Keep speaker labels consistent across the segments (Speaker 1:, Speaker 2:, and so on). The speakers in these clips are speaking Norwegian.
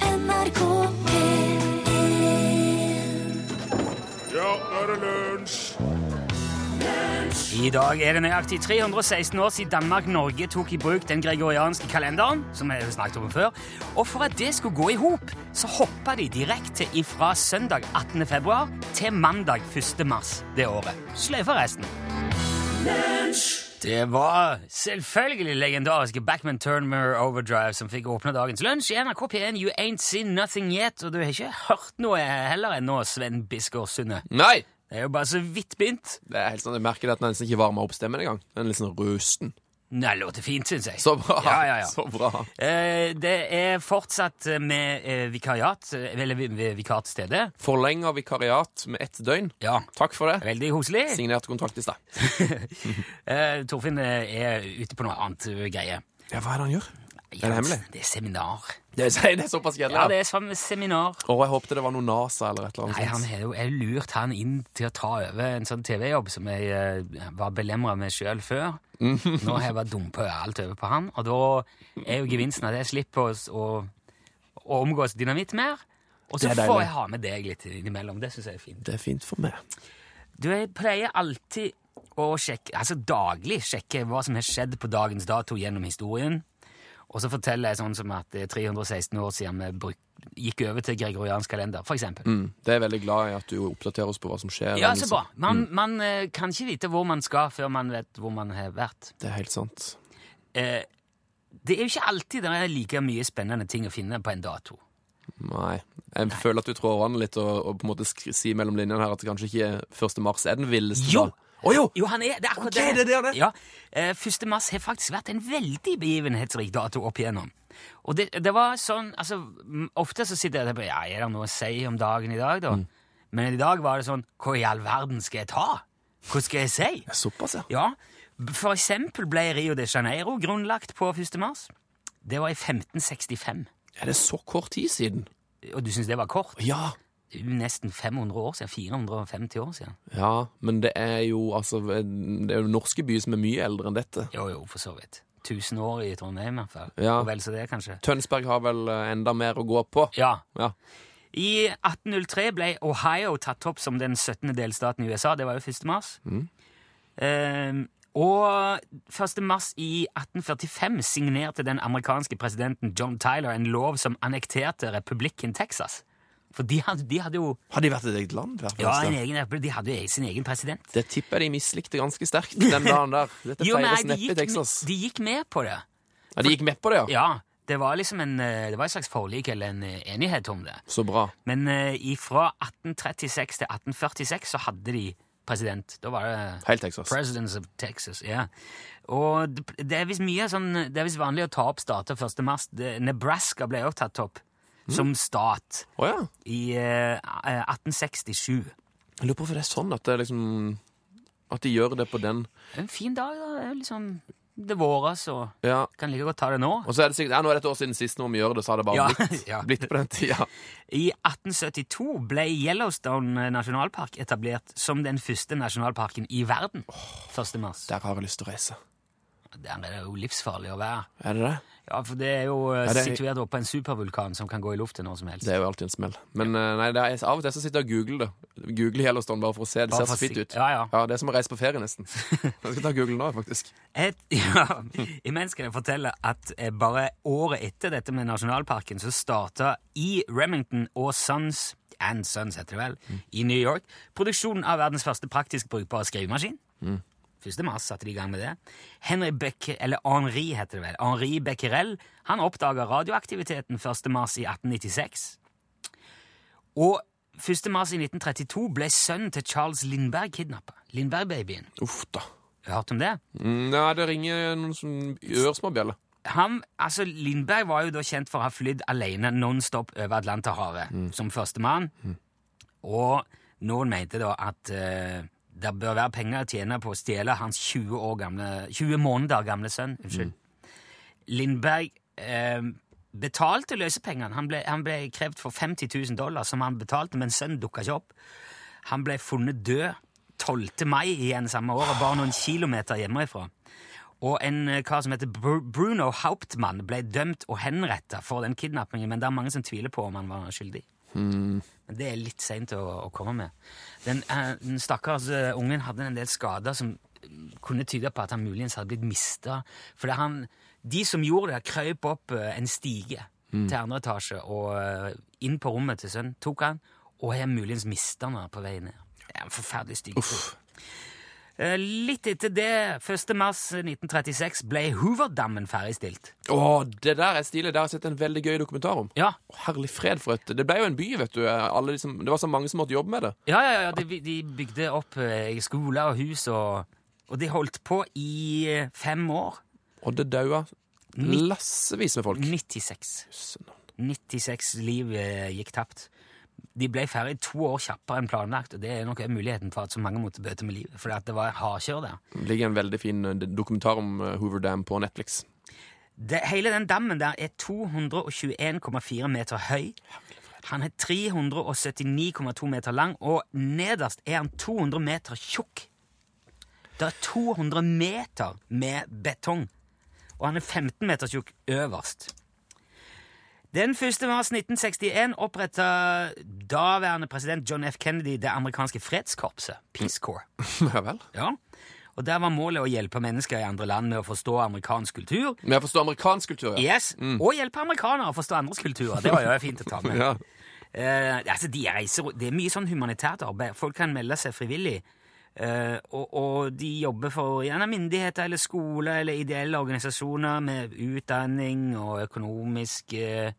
Speaker 1: NRK P1
Speaker 2: Ja, nå er det lunsj!
Speaker 3: I dag er det nøyaktig 316 år siden Danmark-Norge tok i bruk den gregorianske kalenderen, som vi snakket om før, og for at det skulle gå i hop, så hoppa de direkte ifra søndag 18. februar til mandag 1. mars det året. Sløyfa resten. Det var selvfølgelig legendariske Backman Turner Overdrive som fikk åpne dagens lunsj i NRK P1. You ain't seen nothing yet, og du har ikke hørt noe heller ennå, Sven Biskår Sunde.
Speaker 4: Nei!
Speaker 3: Det er jo bare så vidt begynt.
Speaker 4: Det er helt sant, Jeg merker det at den nesten ikke varmer opp stemmen engang. Den er litt sånn rusten.
Speaker 3: Nei, låter fint, syns jeg.
Speaker 4: Så bra!
Speaker 3: Ja, ja, ja.
Speaker 4: Så bra.
Speaker 3: Eh, det er fortsatt eh, med eh, vikariat, eh, eller vi- vi- vikar til stede.
Speaker 4: Forlenger vikariat med ett døgn.
Speaker 3: Ja.
Speaker 4: Takk for det.
Speaker 3: Veldig koselig.
Speaker 4: Signert kontrakt i stad.
Speaker 3: Eh, Torfinn eh, er ute på noe annet eh, greie.
Speaker 4: Ja, hva er det han gjør? Er det hemmelig?
Speaker 3: Det er seminar.
Speaker 4: Det er, det er såpass kjedelig.
Speaker 3: Ja,
Speaker 4: Ja,
Speaker 3: det er sånn seminar.
Speaker 4: Å, jeg håpte det var noe NASA eller et eller annet.
Speaker 3: Nei, han
Speaker 4: sånt.
Speaker 3: har jo jeg har lurt han inn til å ta over en sånn TV-jobb som jeg eh, var belemra med sjøl før.
Speaker 4: Mhm.
Speaker 3: Nå har jeg bare dumpa alt over på han, og da er jo gevinsten at jeg slipper oss å, å omgås dynamitt mer. Og så
Speaker 4: Det er
Speaker 3: får
Speaker 4: deilig.
Speaker 3: jeg ha med deg litt innimellom. Det syns jeg er fint.
Speaker 4: Det er fint for meg.
Speaker 3: Du, jeg pleier alltid å sjekke, altså daglig sjekke hva som har skjedd på dagens dato gjennom historien. Og så forteller jeg sånn som at det er 316 år siden vi bruk, gikk over til gregoriansk kalender, for eksempel.
Speaker 4: Mm. Det er jeg veldig glad i at du oppdaterer oss på hva som skjer. liksom
Speaker 3: Ja, så bra. Man, man eh, kan ikke vite hvor man skal før man vet hvor man har vært.
Speaker 4: Det er helt sant.
Speaker 3: Eh, det er jo ikke alltid det er like mye spennende ting å finne på en dato.
Speaker 4: Nei. Jeg føler at du trår vannet litt og, og på en måte sk si mellom linjene her at det kanskje ikke 1. mars er den villeste
Speaker 3: Jo!
Speaker 4: dagen. Å jo!
Speaker 3: Jo, han er, det er akkurat
Speaker 4: Ok, det er det han er.
Speaker 3: Ja, eh, 1. mars har faktisk vært en veldig begivenhetsrik dato opp igjennom. Og det, det var sånn, altså, m- ofte så sitter jeg der på, ja, er det noe å si om dagen i dag
Speaker 4: Mm.
Speaker 3: da? Men i dag var det sånn, hva i all verden skal jeg ta? Hva skal jeg si?
Speaker 4: Såpass, ja.
Speaker 3: Ja, b- for eksempel ble Rio de Janeiro grunnlagt på 1. mars. Det var i 1565.
Speaker 4: Er det så kort tid siden?
Speaker 3: Og du synes det var kort?
Speaker 4: Ja.
Speaker 3: Det er jo Nesten 500 år siden, 450 år siden.
Speaker 4: Ja, men det er jo altså Det er jo norske byer som er mye eldre enn dette.
Speaker 3: Jo, jo, for så vidt. 1000 år i Trondheim i hvert fall.
Speaker 4: Ja.
Speaker 3: Og vel så det, kanskje.
Speaker 4: Tønsberg har vel eh, enda mer å gå på.
Speaker 3: Ja.
Speaker 4: Ja.
Speaker 3: I 1803 ble Ohio tatt opp som den 17. delstaten i USA. Det var jo 1. mars. Eh, og 1. mars i 1845 signerte den amerikanske presidenten John Tyler en lov som annekterte republikken Texas. For de hadde, de hadde jo
Speaker 4: Har de vært et eget land? hver
Speaker 3: ja, en
Speaker 4: forresten?
Speaker 3: egen, de hadde jo sin egen president.
Speaker 4: Det tipper jeg de mislikte ganske sterkt den dagen der. Dette
Speaker 3: Jo, men nei,
Speaker 4: feires
Speaker 3: de
Speaker 4: neppe i
Speaker 3: gikk,
Speaker 4: Texas.
Speaker 3: med- de gikk med på det.
Speaker 4: Ja, de gikk med på det, ja.
Speaker 3: Ja, det var liksom en, eh, det var et slags forlik eller en eh, enighet om det.
Speaker 4: Så bra.
Speaker 3: Men eh, fra 1836 til 1846 så hadde de president. Da var det
Speaker 4: Helt Texas.
Speaker 3: Presidents of Texas, ja. Og det- det er visst mye sånn, det er visst vanlig å ta opp stater 1. mars. Det- Nebraska ble også tatt opp som stat
Speaker 4: Å ja.
Speaker 3: i eh, 1867.
Speaker 4: Jeg lurer på hvorfor det er sånn at det er liksom At de gjør det på den.
Speaker 3: En fin dag, da. Det er Liksom, det våres, og
Speaker 4: Ja.
Speaker 3: kan like godt ta det nå.
Speaker 4: Og så er det sikkert Ja, nå er det et år siden sist, når vi gjør det, så har det bare
Speaker 3: Ja,
Speaker 4: blitt,
Speaker 3: ja.
Speaker 4: blitt på den tida.
Speaker 3: I 1872 ble Yellowstone nasjonalpark etablert som den første nasjonalparken i verden 1. mars.
Speaker 4: Der har jeg lyst til å reise.
Speaker 3: Der er det jo livsfarlig å være.
Speaker 4: Er det det?
Speaker 3: Ja, for det er jo eh,
Speaker 4: Ja, det er-
Speaker 3: situert oppå en supervulkan som kan gå i luften når som helst.
Speaker 4: Det er jo alltid en smell. Men eh, nei, det er, av og til så sitter jeg og googler det. Googler Yellowstone bare for å se. Det
Speaker 3: Bare
Speaker 4: ser
Speaker 3: for
Speaker 4: så
Speaker 3: å
Speaker 4: fint
Speaker 3: si-
Speaker 4: ut.
Speaker 3: Ja, ja.
Speaker 4: det er som å reise på ferie, nesten. Jeg skal ta Google nå, faktisk.
Speaker 3: Et, ja, imens skal jeg fortelle at eh, bare året etter dette med nasjonalparken, så starta i Remington og Sons and Sons heter det vel, i New York, produksjonen av verdens første praktisk brukbare skrivemaskin. 1. mars satte de i gang med det. Henry Becque, eller Henri heter det vel, Henri Becquerel, han oppdaga radioaktiviteten 1. mars i 1896. Og 1. mars i 1932 ble sønnen til Charles Lindberg kidnappa. Lindberg-babyen.
Speaker 4: Uff da.
Speaker 3: Har du hørt om det?
Speaker 4: Mm, Nei, det ringer noen som ørsmåbjeller.
Speaker 3: han, altså Lindberg var jo da kjent for å ha flydd alene nonstop over Atlanterhavet som førstemann. Og noen mente da at eh, det bør være penger å tjene på å stjele hans 20, år gamle, 20 måneder gamle sønn. Unnskyld. Lindberg eh, betalte løsepengene. Han ble, han ble krevd for 50 000 dollar, som han betalte, men sønnen dukka ikke opp. Han ble funnet død 12. mai igjen samme år, og bare noen kilometer hjemmefra. Og en eh, kar som heter Br Bruno Hauptmann ble dømt og henretta for den kidnappingen, men det er mange som tviler på om han var skyldig. Men det er litt seint å, å komme med. Den, eh, den stakkars eh, ungen hadde en del skader som mm, kunne tyde på at han muligens hadde blitt mista. For det han, de som gjorde det, krøp opp eh, en stige til andre etasje og eh, inn på rommet til sønnen tok han, og har muligens mista han på vei ned. Det er en forferdelig stygg ting. Eh, Litt etter det, 1. mars 1936, ble Hooverdammen ferdigstilt.
Speaker 4: Å, det der er stilig. Det har jeg sett en veldig gøy dokumentar om.
Speaker 3: Ja,
Speaker 4: Å, herlig fred for et Det ble jo en by, vet du. Alle de som, det var så mange som måtte jobbe med det.
Speaker 3: Ja, ja, ja de, de bygde opp eh, skoler og hus, og, og de holdt på i eh, fem år.
Speaker 4: Og det daua lassevis med folk.
Speaker 3: 96. 96 liv eh, gikk tapt. De ble ferdig to år kjappere enn planlagt, og det er nok muligheten for at så mange måtte bøte med livet, fordi at det var hardkjør der.
Speaker 4: Det ligger en veldig fin eh, dokumentar om eh, Hoover Dam på Netflix.
Speaker 3: Det, hele den dammen der er 221,4 meter høy. Han er 379,2 meter lang, og nederst er han 200 meter tjukk. Det er 200 meter med betong, og han er 15 meter tjukk øverst. Den 1. mars 1961 oppretta daværende president John F. Kennedy det amerikanske fredskorpset, Peace Corps.
Speaker 4: ja vel.
Speaker 3: Ja. Og Der var målet å hjelpe mennesker i andre land med å forstå amerikansk kultur,
Speaker 4: Men jeg forstår amerikansk kultur, ja.
Speaker 3: Yes, Og hjelpe amerikanere å forstå andres kulturer. Det var jo fint å ta med.
Speaker 4: ja.
Speaker 3: Eh, altså, de reiser, Det er mye sånn humanitært arbeid. Folk kan melde seg frivillig. Eh, og, og de jobber for gjerne myndigheter eller skole eller ideelle organisasjoner med utdanning og økonomisk eh,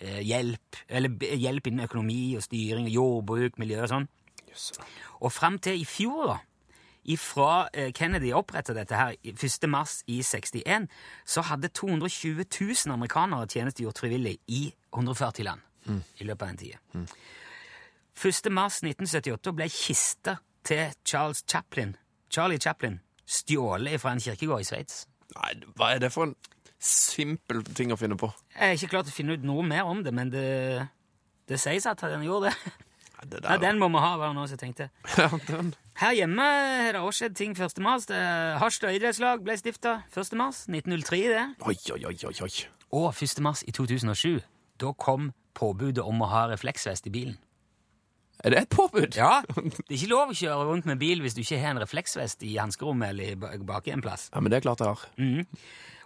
Speaker 3: eh, hjelp. Eller b- hjelp innen økonomi og styring og jordbruk, miljø og sånn. Og fram til i fjor, da, ifra eh, Kennedy oppretta dette her i- 1. mars i 61, så hadde 220 000 amerikanere tjenestegjort frivillig i 140 land i løpet av den tida. 1. mars 1978 ble kista til Charles Chaplin, Charlie Chaplin stjålet fra en kirkegård i Sveits.
Speaker 4: Nei, hva er det for en simpel ting å finne på?
Speaker 3: Jeg har ikke klart å finne ut noe mer om det, men det, det sies at han gjorde det.
Speaker 4: Nei, det
Speaker 3: Nei, den må vi ha, var det noen som tenkte.
Speaker 4: Ja, den.
Speaker 3: Her hjemme har det også skjedd ting 1. mars. Det- Harstad idrettslag ble stifta 1. mars 1903, det.
Speaker 4: Oi, oi, oi, oi, oi.
Speaker 3: Og 1. mars i 2007. Da kom påbudet om å ha refleksvest i bilen.
Speaker 4: Er det et påbud?
Speaker 3: Ja, Det er ikke lov å kjøre rundt med bil hvis du ikke har en refleksvest i hanskerommet eller i ba- baki en plass.
Speaker 4: Ja, men det er klart jeg har.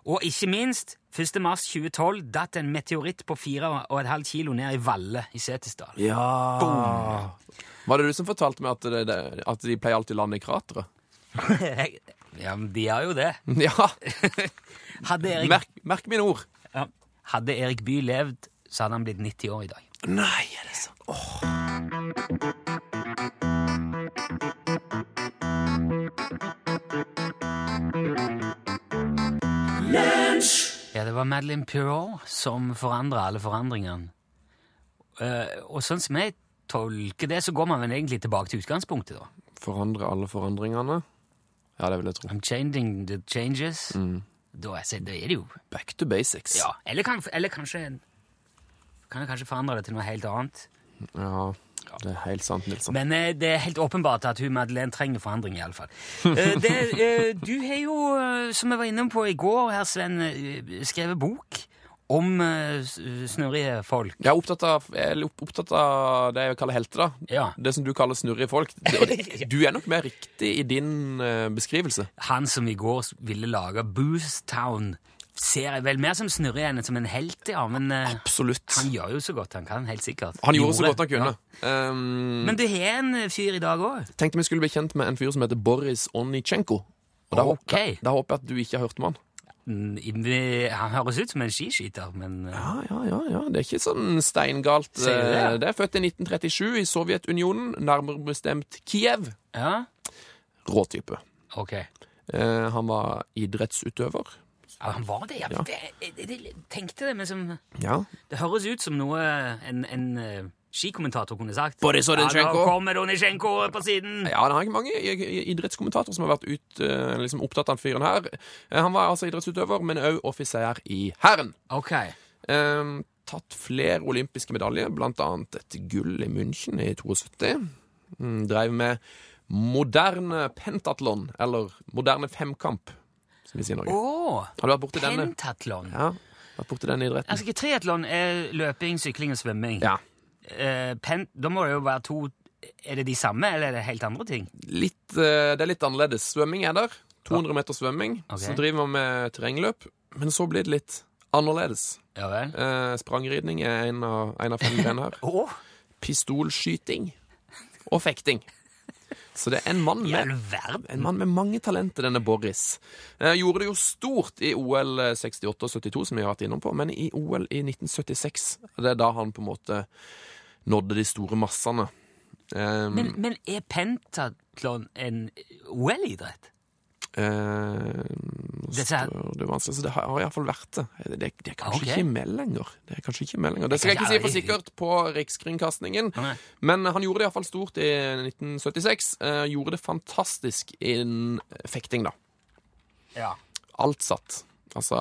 Speaker 3: Og ikke minst, 1. mars 2012 datt en meteoritt på 4,5 kilo ned i Valle i Setesdal.
Speaker 4: Ja. Ah. Var det du som fortalte meg at, det, det, at de pleier alltid å lande i krateret?
Speaker 3: ja, men de gjør jo det.
Speaker 4: Ja,
Speaker 3: Hadde Erik,
Speaker 4: merk, merk mine ord.
Speaker 3: ja, hadde Erik Bye levd, så hadde han blitt 90 år i dag.
Speaker 4: Nei, er det sant?
Speaker 3: Ja, det var Madeleine Perrault som forandra alle forandringene. Eh, og sånn som jeg tolker det, så går man vel egentlig tilbake til utgangspunktet, da.
Speaker 4: Forandre alle forandringene. Ja, det vil jeg tro.
Speaker 3: I'm changing the changes.
Speaker 4: Mm.
Speaker 3: Da, er, det- da er det jo
Speaker 4: Back to basics.
Speaker 3: Ja. Eller, kan, eller kanskje Kan jeg kanskje forandre det til noe helt annet.
Speaker 4: Ja, det er helt sant, Nilsson.
Speaker 3: Men eh, det er helt åpenbart at hun Madeleine trenger forandring, iallfall. Uh, du har jo, eh, som jeg var inne på i går, her, Sven, eh, skrevet bok om eh, s- snurrige folk.
Speaker 4: Jeg er opptatt av, jeg er opp- opptatt av det jeg kaller helter, da.
Speaker 3: Ja.
Speaker 4: Det som du kaller snurrige folk. Det- og det- Du er nok mer riktig i din eh, beskrivelse.
Speaker 3: han som i går ville lage Booth Town, ser jeg vel mer som snurre enn som en helt, ja. Men eh,
Speaker 4: Absolutt.
Speaker 3: han gjør jo så godt han kan, helt sikkert.
Speaker 4: Han gjorde så godt han
Speaker 3: ja.
Speaker 4: kunne. Mm. Um,
Speaker 3: Men du har en eh, fyr i dag òg.
Speaker 4: tenkte vi skulle bli kjent med en fyr som heter Boris Onitsjenko. Og da, hå-
Speaker 3: Ok.
Speaker 4: da, da håper jeg at du ikke har hørt om han.
Speaker 3: Han høres ut som en skiskyter, men eh,
Speaker 4: Ja, ja, ja, ja. Det er ikke sånn steingalt.
Speaker 3: Sier du det, ja?
Speaker 4: Eh, Det er født i 1937 i Sovjetunionen, nærmere bestemt Kiev.
Speaker 3: ja.
Speaker 4: Råtype.
Speaker 3: Ok.
Speaker 4: Eh, han var idrettsutøver.
Speaker 3: Ja, han var det, ja. Det, jeg, jeg tenkte det, men som,
Speaker 4: Ja.
Speaker 3: det høres ut som noe en, en eh, skikommentator kunne sagt.
Speaker 4: Boris
Speaker 3: Ja,
Speaker 4: Odentsjenko.
Speaker 3: nå kommer Onisjenko på siden!
Speaker 4: Ja, det er ikke mange i- i- idrettskommentatorer som har vært ut, eh, liksom opptatt av den fyren her. Eh, han var altså idrettsutøver, men òg offiser i hæren.
Speaker 3: Ok.
Speaker 4: Eh, tatt flere olympiske medaljer, blant annet et gull i München i 72. Mm, dreiv med moderne pentathlon, eller moderne femkamp. som vi sier i Norge.
Speaker 3: Å!
Speaker 4: Har du vært borti denne?
Speaker 3: Pentatlon.
Speaker 4: Ja, vært borti denne idretten?
Speaker 3: Altså, ikke triatlon er løping, sykling og svømming.
Speaker 4: Ja.
Speaker 3: Eh, pen, da må det jo være to Er det de samme, eller er det helt andre ting?
Speaker 4: Litt, eh, det er litt annerledes. Svømming er der. 200 meter svømming.
Speaker 3: Ok.
Speaker 4: Så driver vi med terrengløp. Men så blir det litt annerledes.
Speaker 3: Ja vel.
Speaker 4: Eh, sprangridning er en av, en av fem grener her.
Speaker 3: Å!
Speaker 4: Pistolskyting og fekting. Så det er en mann
Speaker 3: I all
Speaker 4: med
Speaker 3: verden!
Speaker 4: en mann med mange talenter, denne Boris. Eh, gjorde det jo stort i OL 68 og 72, som vi har vært innom på, men i OL i 1976 Det er da han på en måte nådde de store massene. Eh,
Speaker 3: Men, men er pentatlon en eh, OL-idrett?
Speaker 4: eh,
Speaker 3: Dette er-
Speaker 4: så det er vanskelig, så det har iallfall vært det. Det, det, det er kanskje
Speaker 3: Ok.
Speaker 4: ikke med lenger. Det er kanskje ikke med lenger. Det skal jeg ikke si for sikkert på Rikskringkastingen,
Speaker 3: Nei.
Speaker 4: men han gjorde det iallfall stort i 1976. Eh, gjorde det fantastisk innen fekting, da.
Speaker 3: Ja.
Speaker 4: Alt satt. Altså,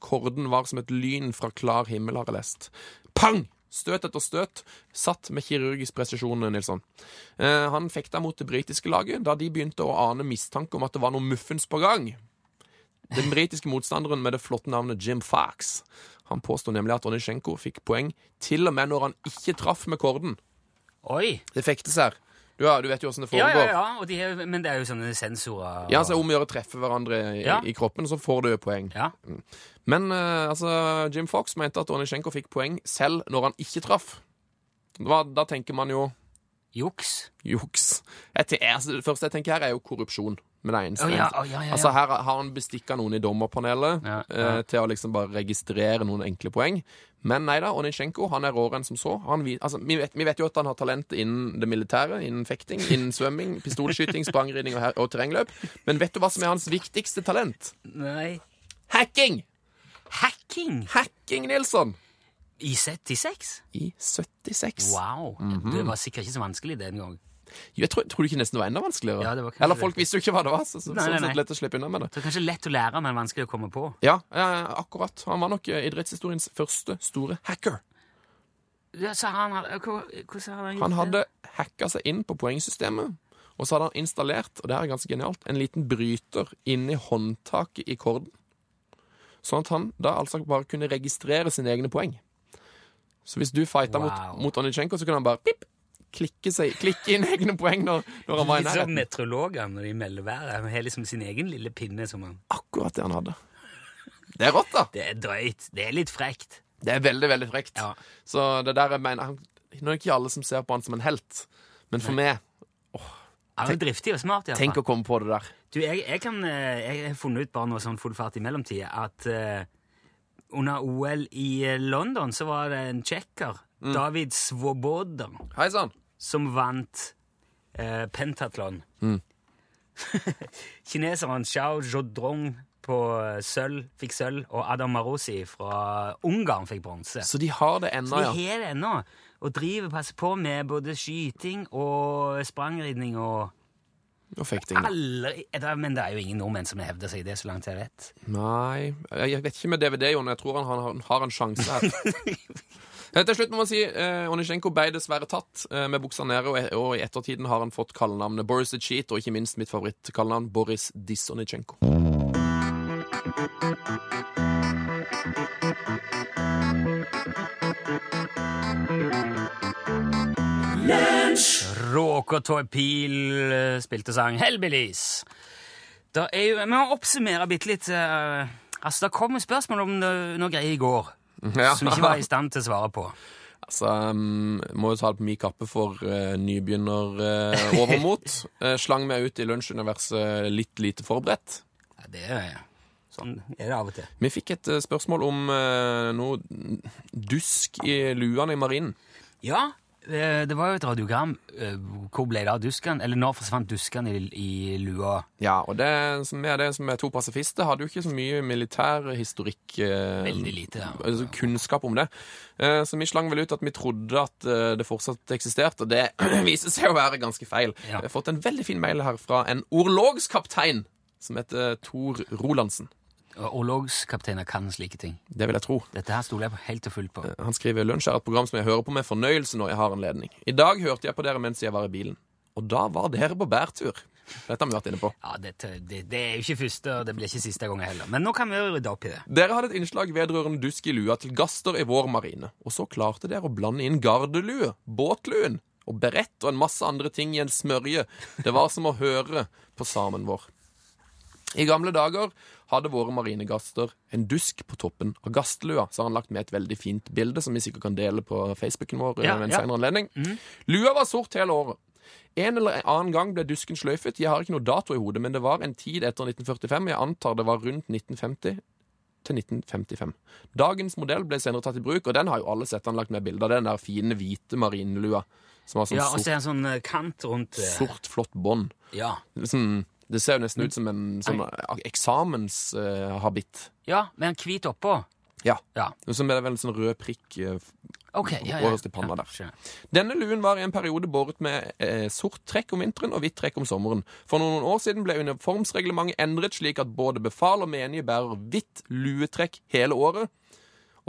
Speaker 4: korden var som et lyn fra klar himmel, har jeg lest. Pang! Støt etter støt. Satt med kirurgisk presisjon, Nilsson. Eh, han fekta mot det britiske laget da de begynte å ane mistanke om at det var noe muffens på gang. Den britiske motstanderen med det flotte navnet Jim Fox. Han påsto nemlig at Ronysjenko fikk poeng til og med når han ikke traff med korden.
Speaker 3: Oi!
Speaker 4: Det fektes her. Du, har- du vet jo åssen det
Speaker 3: Ja,
Speaker 4: foregår.
Speaker 3: ja, ja. Og de er, men det er jo sånne sensorer. og-
Speaker 4: Ja, så er det om å gjøre å treffe hverandre i,
Speaker 3: Ja.
Speaker 4: i kroppen, så får du poeng.
Speaker 3: ja.
Speaker 4: Men eh, altså, Jim Fox mente at Onisjenko fikk poeng selv når han ikke traff. Da, da tenker man jo
Speaker 3: Juks.
Speaker 4: juks. Jeg te- jeg- altså, Det første jeg tenker her, er jo korrupsjon. Med det eneste.
Speaker 3: Å ja, å ja, ja, ja.
Speaker 4: Altså Her har han bestikka noen i dommerpanelet
Speaker 3: Ja,
Speaker 4: eh,
Speaker 3: ja.
Speaker 4: til å liksom bare registrere noen enkle poeng. Men nei da, Onisjenko han er råere enn som så. Han, vi, altså, vi, vet, vi vet jo at han har talent innen det militære, innen fekting, innen svømming, pistolskyting, sprangridning og, her- og terrengløp. Men vet du hva som er hans viktigste talent?
Speaker 3: Nei
Speaker 4: Hacking!
Speaker 3: Hacking
Speaker 4: Hacking, Nilsson!
Speaker 3: i 76?
Speaker 4: i 76.
Speaker 3: Wow.
Speaker 4: Mhm.
Speaker 3: Det var sikkert ikke så vanskelig den gang.
Speaker 4: Jo, Jeg tror, tror du ikke nesten det var enda vanskeligere?
Speaker 3: Ja, det var kanskje
Speaker 4: Eller folk
Speaker 3: det.
Speaker 4: visste jo ikke hva det var, så, så,
Speaker 3: Nei, nei,
Speaker 4: sånn
Speaker 3: nei.
Speaker 4: sett lett å slippe unna med det.
Speaker 3: Så kanskje lett å lære, men vanskelig å komme på.
Speaker 4: Ja, eh, akkurat. Han var nok eh, idrettshistoriens første store hacker.
Speaker 3: Ja, så han hadde, hvor- hvordan hadde han gjort
Speaker 4: Han
Speaker 3: det?
Speaker 4: hadde hacka seg inn på poengsystemet, og så hadde han installert, og det her er ganske genialt, en liten bryter inni håndtaket i korden. Sånn at han da altså bare kunne registrere sine egne poeng. Så hvis du fighta
Speaker 3: Wow.
Speaker 4: mot, mot Onitsjenko, så kunne han bare pip, klikke, seg, klikke inn egne poeng når, når han var i
Speaker 3: Litt sånn
Speaker 4: nærheten.
Speaker 3: meteorologene når de melder været. Han har liksom sin egen lille pinne som han
Speaker 4: akkurat det han hadde. Det er rått, da!
Speaker 3: Det er drøyt. Det er litt frekt.
Speaker 4: Det er veldig, veldig frekt.
Speaker 3: Ja.
Speaker 4: Så det der jeg mener han, Nå er det ikke alle som ser på han som en helt, men for meg
Speaker 3: Han er driftig og smart,
Speaker 4: Tenk
Speaker 3: iallfall.
Speaker 4: å komme på det der.
Speaker 3: Du, jeg, jeg kan eh, Jeg har funnet ut bare noe sånn full fart i mellomtida at eh, under OL i eh, London så var det en tsjekker, David Svoboda,
Speaker 4: Hei
Speaker 3: sånn.
Speaker 4: sann!
Speaker 3: som vant eh, pentatlon. Kineseren Xiao Zhodrong på eh, sølv fikk sølv, og Adam Marosi fra Ungarn fikk bronse.
Speaker 4: Så de har det
Speaker 3: Så
Speaker 4: ennå,
Speaker 3: de
Speaker 4: Sånn, ja.
Speaker 3: har det ennå, og driver passer på med både skyting og sprangridning og
Speaker 4: Og fekting.
Speaker 3: aldri da- Men det er jo ingen nordmenn som hevder seg i det, så langt jeg vet.
Speaker 4: Nei Jeg jeg vet ikke med DVD, Jon. Jeg tror han, har- han har en sjanse her. Eh, Til slutt må man si eh, Onisjenko ble dessverre tatt eh, med buksa nede, og, og i ettertiden har han fått kallenavnet Boris the Cheat, og ikke minst mitt favorittkallenavn Boris Disonichenko.
Speaker 3: Råk og Torpil eh, spilte sang Hellbillies. Da er jo, vi må oppsummere bitte litt. eh, altså, Det kom jo spørsmål om noe, noe greier i går
Speaker 4: Ja.
Speaker 3: som vi ikke var i stand til å svare på.
Speaker 4: Altså, um, må jo ta det på min kappe for eh, nybegynner eh, overmot. Eh, slang meg ut i lunsjuniverset litt lite forberedt.
Speaker 3: Ja, det er Sånn er det av og til.
Speaker 4: Vi fikk et eh, spørsmål om eh, noe dusk i luene i marinen.
Speaker 3: Ja, eh, det var jo et radiogram. eh, Hvor ble det av dusken? Eller når forsvant dusken i, i lua?
Speaker 4: Ja, og det som er det som er to pasifister, hadde jo ikke så mye militær historikk eh,
Speaker 3: Veldig lite, ja.
Speaker 4: altså Kunnskap om det. Eh, så vi slang vel ut at vi trodde at eh, det fortsatt eksisterte, og det viser seg å være ganske feil.
Speaker 3: Ja.
Speaker 4: Jeg har fått en veldig fin mail her fra en orlogskaptein som heter Tor Rolandsen.
Speaker 3: Og Orlogskapteiner kan slike ting.
Speaker 4: Det vil jeg tro.
Speaker 3: Dette her stoler jeg på helt og fullt på.
Speaker 4: Han skriver lunsj er et program som jeg hører på med fornøyelse når jeg har anledning. I dag hørte jeg på dere mens jeg var i bilen. Og da var dere på bærtur. Dette har vi vært inne på.
Speaker 3: Ja, dette, det, det er jo ikke første, og det blir ikke siste gangen heller. Men nå kan vi jo rydde opp i det.
Speaker 4: Dere hadde et innslag vedrørende dusk i lua til gaster i vår marine, og så klarte dere å blande inn gardelue, båtluen og berett og en masse andre ting i en smørje. Det var som å høre på samen vår. I gamle dager hadde våre marinegaster en dusk på toppen av gastlua. Så har han lagt med et veldig fint bilde som vi sikkert kan dele på Facebooken vår. eh,
Speaker 3: Ja,
Speaker 4: ved en
Speaker 3: ja. Mm.
Speaker 4: senere anledning. Lua var sort hele året. En eller annen gang ble dusken sløyfet. Jeg har ikke noe dato i hodet, men det var en tid etter 1945. Jeg antar det var rundt 1950 til 1955. Dagens modell ble senere tatt i bruk, og den har jo alle sett. Han har lagt med bilder av den der fine, hvite marinelua som har sånn
Speaker 3: Ja, og så
Speaker 4: sort,
Speaker 3: er det en sånn eh, kant rundt eh,
Speaker 4: sort, flott bånd.
Speaker 3: Ja,
Speaker 4: Liksom, det ser jo nesten ut som en sånn eksamenshabitt.
Speaker 3: ja med en hvit oppå.
Speaker 4: ja.
Speaker 3: Ja,
Speaker 4: Og så er det vel en sånn rød prikk eh, f-
Speaker 3: ok. Ja, ja.
Speaker 4: Øverst i panna der.
Speaker 3: Ja, skjønner.
Speaker 4: Denne luen var i en periode båret med eh, sort trekk om vinteren og hvitt trekk om sommeren. For noen år siden ble uniformsreglementet endret slik at både befal og menige bærer hvitt luetrekk hele året.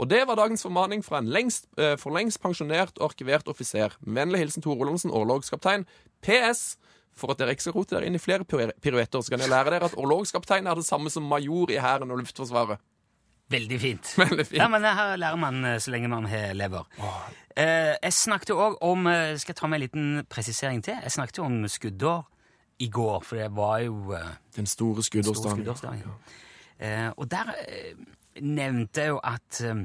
Speaker 4: Og det var dagens formaning fra en lengst, eh, for lengst pensjonert og arkivert offiser. Med Vennlig hilsen Tor Olonsen, orlogskaptein. PS. For at dere ikke skal rote dere inn i flere piru- piruetter, så kan jeg lære dere at orlogskaptein er det samme som major i Hæren og Luftforsvaret.
Speaker 3: Veldig fint.
Speaker 4: Veldig fint.
Speaker 3: Ja, men det her lærer man eh, så lenge man har lever. Eh, jeg snakket òg om eh, Skal jeg ta med en liten presisering til? Jeg snakket jo om skuddår i går, for det var jo eh,
Speaker 4: Den store skuddårsdagen.
Speaker 3: Storskuddårsdagen. Eh, og der eh, nevnte jeg jo at eh,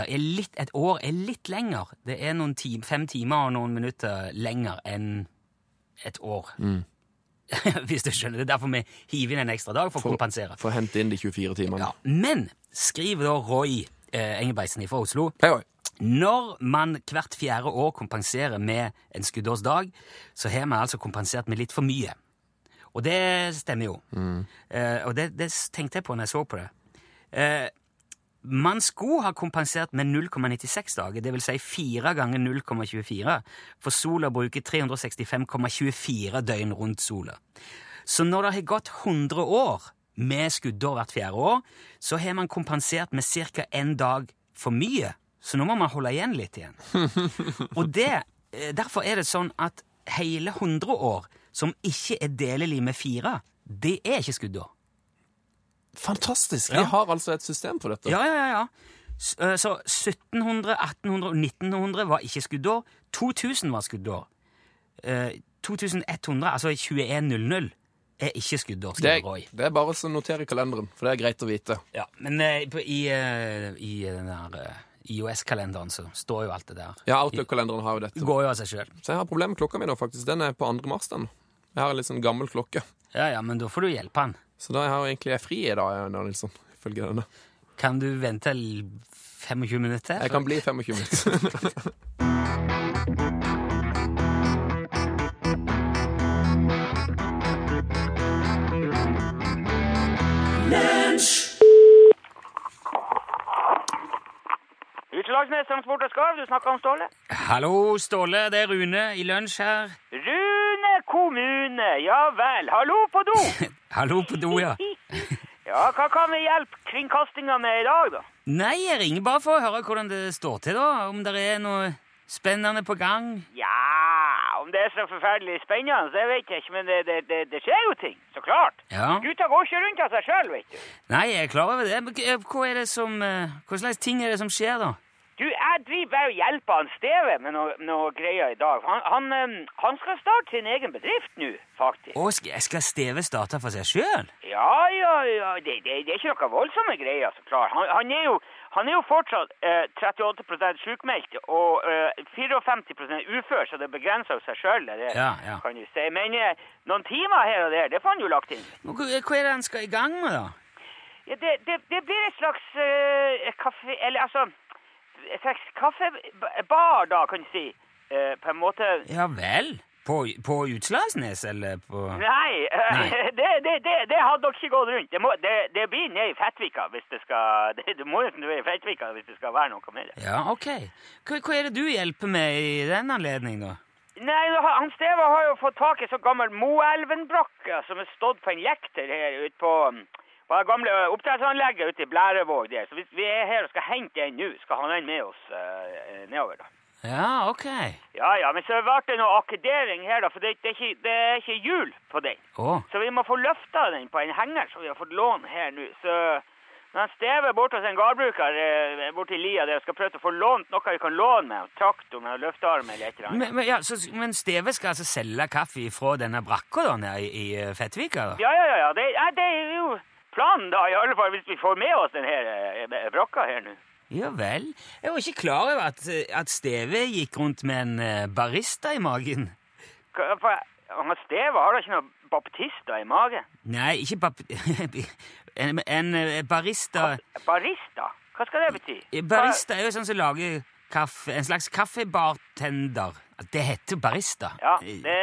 Speaker 3: der er litt, et år er litt lenger. Det er noen tim, fem timer og noen minutter lenger enn et år. Hvis du skjønner. Det er derfor vi hiver inn en ekstra dag for, å kompensere.
Speaker 4: For å hente inn de 24 timene.
Speaker 3: Ja. Men skriv da Roy eh, Engebreitsen fra Oslo.
Speaker 4: Hei, hei.
Speaker 3: Når man hvert fjerde år kompenserer med en skuddårsdag, så har vi altså kompensert med litt for mye. Og det stemmer jo. Eh, og det, det tenkte jeg på når jeg så på det. Eh, man skulle ha kompensert med 0,96 dager, dvs. Si fire ganger 0,24, for sola bruker 365,24 døgn rundt sola. Så når det har gått 100 år med skuddår hvert fjerde år, så har man kompensert med ca. én dag for mye. Så nå må man holde igjen litt igjen. Og det, eh, derfor er det sånn at hele 100 år som ikke er delelig med fire, det er ikke skuddår.
Speaker 4: Fantastisk! Vi har altså et system for dette.
Speaker 3: Ja, ja, ja, ja. S- eh, Så 1700, 1800 og 1900 var ikke skuddår. 2000 var skuddår. Eh, 2100, altså 2100, er ikke skuddår,
Speaker 4: Det,
Speaker 3: skriver Roy.
Speaker 4: er, det er bare å notere i kalenderen, for det er greit å vite.
Speaker 3: Ja, men eh, på, i, eh, i den der eh, IOS-kalenderen så står jo alt det der.
Speaker 4: Ja, Outlook-kalenderen har jo dette.
Speaker 3: Det går jo av seg sjøl.
Speaker 4: Så jeg har problemer med klokka mi nå, faktisk. Den er på 2. mars, den. Jeg har en litt sånn gammel klokke.
Speaker 3: Ja, ja, men da får du hjelpe han.
Speaker 4: Så da har jeg egentlig jeg er fri i dag, Jan Nilsson. Ifølge denne.
Speaker 3: Kan du vente l- 25 minutter?
Speaker 4: Jeg kan bli 25 minutter.
Speaker 1: Utelagsmesteren og Skarv, du snakka om Ståle.
Speaker 3: Hallo, Ståle, det er Rune i lunsj her.
Speaker 1: Rune kommune, ja vel. Hallo på do!
Speaker 3: Hallo på do, ja.
Speaker 1: Ja, hva kan vi hjelpe kringkastinga med i dag, da?
Speaker 3: Nei, jeg ringer bare for å høre hvordan det står til, da. Om det er noe spennende på gang.
Speaker 1: Ja, om det er så forferdelig spennende, det vet jeg ikke, men det, det, det, det skjer jo ting. Så klart.
Speaker 3: Ja.
Speaker 1: Gutta går ikke rundt av seg sjøl, vet du.
Speaker 3: Nei, jeg er klar over det. Men k- Hva er det som eh, Hva slags ting er det som skjer, da?
Speaker 1: Du, jeg driver bare og hjelper han Steve med noe, noe greier i dag. Han, han, eh, han skal starte sin egen bedrift nå, faktisk.
Speaker 3: Å, skal, skal Steve starte for seg sjøl?
Speaker 1: Ja, ja, ja. Det, det, det er ikke noe voldsomme greier, så klart. Han, han, er, jo, han er jo fortsatt eh, 38 sykmeldt og eh, 54 ufør, så det begrenser jo seg sjøl, det der,
Speaker 3: Ja, ja.
Speaker 1: kan du si. Men eh, noen timer her og der, det får han jo lagt inn.
Speaker 3: Hva, hva er det han skal i gang med, da?
Speaker 1: Ja, det, det, det blir et slags eh, kaffe... Eller altså Et slags kaffebar, da, kan du si. Eh, på en måte
Speaker 3: Ja vel? På, på Utslagsnes, eller på
Speaker 1: Nei, eh,
Speaker 3: Nei.
Speaker 1: Det, det, det, det hadde nok ikke gått rundt. Det, må, det, det blir ned i Fettvika hvis det skal det, Du må jo ned i Fettvika hvis det skal være noe med det.
Speaker 3: Ja, ok. Hva, hva er det du hjelper med i den anledning, da?
Speaker 1: Nei, nå har- han Steva har jo fått tak i så gammel Moelven-brakke som har stått på en lekter her ute på, mm, på det gamle oppdrettsanlegget ute i Blærevåg der. Så hvis vi er her og skal hente den nå, skal han den med oss eh, nedover, da.
Speaker 3: Ja, ok.
Speaker 1: Ja, ja, men så ble det noe akkedering her, da, for det, det, er ikke, det er ikke hjul på den.
Speaker 3: Å,
Speaker 1: Så vi må få løfta den på en henger som vi har fått låne her nå. Så når han stever bort hos en gårdbruker eh, borti lia der og skal prøve å få lånt noe vi kan låne med, en traktor med en løftearm eller et eller annet
Speaker 3: men, men, ja, så, men Steve skal altså selge kaffe fra denne brakka da, nede i, i eh, Fettvika? da?
Speaker 1: Ja, ja, ja, ja. Det, ja, det er jo planen, da, i alle fall hvis vi får med oss den her eh, brakka her nå.
Speaker 3: Ja vel. Jeg var ikke klar over at, eh, at Steve gikk rundt med en eh, barista i magen.
Speaker 1: Hva- for- Han Steve har da ikke noen baptister i magen?
Speaker 3: Nei, ikke bap... en, en eh, barista
Speaker 1: Barista? Hva skal det bety?
Speaker 3: Barista er jo sånn som lager kaffe, en slags kaffebartender. At Det heter barista.
Speaker 1: Ja, det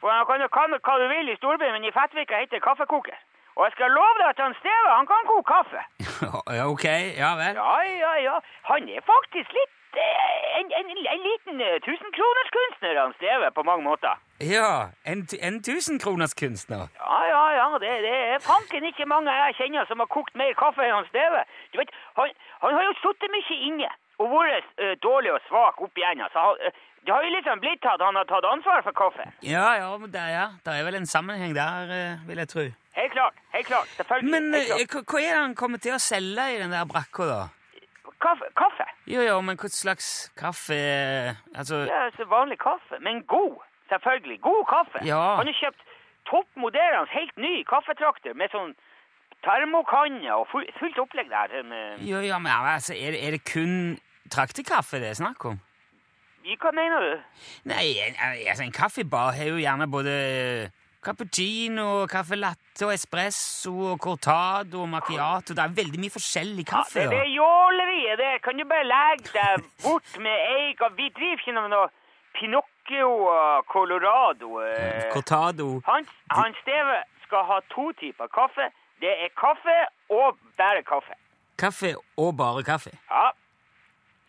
Speaker 1: For han kan jo kalle det hva du vil i storbyen, men i Fettvika heter det kaffekoker. Og jeg skal love deg at han Steve, han kan koke kaffe.
Speaker 3: Ja, ok, ja vel.
Speaker 1: Ja, ja, ja. Han er faktisk litt eh, en, en, en liten eh, tusenkronerskunstner, han Steve, på mange måter.
Speaker 3: Ja, en, tu- en tusenkronerskunstner.
Speaker 1: Ja, ja, ja. Det, det er fanken ikke mange jeg kjenner som har kokt mer kaffe enn han Steve. Du vet, han, han har jo sittet mye inne og vært eh, dårlig og svak opp igjennom. Så han, eh, det har jo liksom blitt at han har tatt ansvar for kaffe.
Speaker 3: Ja, ja, men der, ja. Der er vel en sammenheng der, eh, vil jeg tro.
Speaker 1: Helt klart. Helt klart. Selvfølgelig.
Speaker 3: Men
Speaker 1: helt
Speaker 3: eh,
Speaker 1: klart.
Speaker 3: hva hva er det han kommer til å selge i den der brakka, da?
Speaker 1: Kaffe. kaffe.
Speaker 3: Jo, jo, men hva slags kaffe Altså
Speaker 1: Det er så vanlig kaffe, men god. Selvfølgelig. God kaffe.
Speaker 3: Ja.
Speaker 1: Han har kjøpt toppmoderende, helt ny kaffetrakter med sånn termokanne og full, fullt opplegg der. Sånn, eh,
Speaker 3: Jo, ja, men altså, er, det- er det kun traktekaffe det er snakk om?
Speaker 1: i- eh, hva mener du?
Speaker 3: Nei, en- altså, en kaffebar har jo gjerne både cappuccino, kaffe latte, og espresso, og cortado og macchiato. Det er veldig mye forskjellig kaffe.
Speaker 1: det, det
Speaker 3: da.
Speaker 1: er jåleriet der. Kan du bare legge deg bort med eik? og Vi driver ikke med noe Pinocchio og Colorado. eh.
Speaker 3: Cortado
Speaker 1: Han, han Steve skal ha to typer kaffe. Det er kaffe og bare kaffe.
Speaker 3: Kaffe og bare kaffe.
Speaker 1: Ja,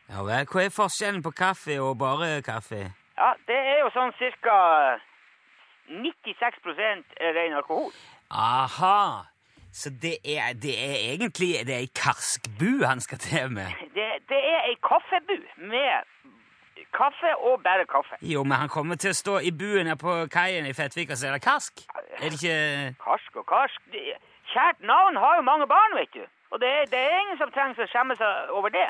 Speaker 3: Ja vel. Hva er forskjellen på kaffe og bare kaffe?
Speaker 1: Ja, det er jo sånn cirka 96 ren alkohol.
Speaker 3: Aha! Så det er, det er egentlig det er ei karskbu han skal til med.
Speaker 1: Det, det er ei kaffebu med kaffe og bare kaffe.
Speaker 3: Jo, men han kommer til å stå i buen her på kaien i Fettvik og selge karsk. Er det ikke
Speaker 1: Karsk og karsk. Det- Kjært navn har jo mange barn, vet du. Og det er, det er ingen som trenger å skjemme seg over det.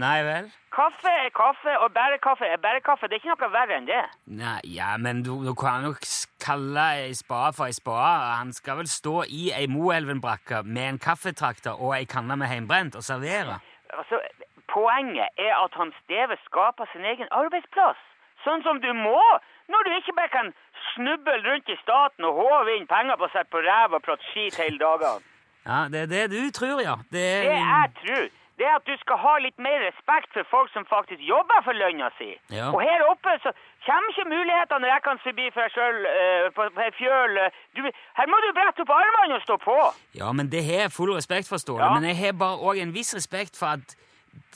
Speaker 3: Nei vel?
Speaker 1: Kaffe er kaffe, og bare kaffe er bare kaffe. Det er ikke noe verre enn det.
Speaker 3: Nei, ja, men du, du kan jo s- kalle ei spade for ei spade. Han skal vel stå i ei Moelven-brakke med en kaffetrakter og ei kanne med heimbrent og servere.
Speaker 1: Altså, poenget er at han Steve skaper sin egen arbeidsplass. Sånn som du må, når du ikke bare kan snuble rundt i staten og håve inn penger på seg på ræv og prate skit hele dagene.
Speaker 3: Ja, det er det du tror, ja. Det er,
Speaker 1: Det jeg tror, det er at du skal ha litt mer respekt for folk som faktisk jobber for lønna si.
Speaker 3: Ja.
Speaker 1: Og her oppe så kommer ikke mulighetene når jeg kan forbi for meg sjøl eh, på, på ei fjøl. eh. Du, her må du brette opp armene og stå på.
Speaker 3: Ja, men det har jeg full respekt for, Ståle.
Speaker 1: Ja.
Speaker 3: Men jeg har bare òg en viss respekt for at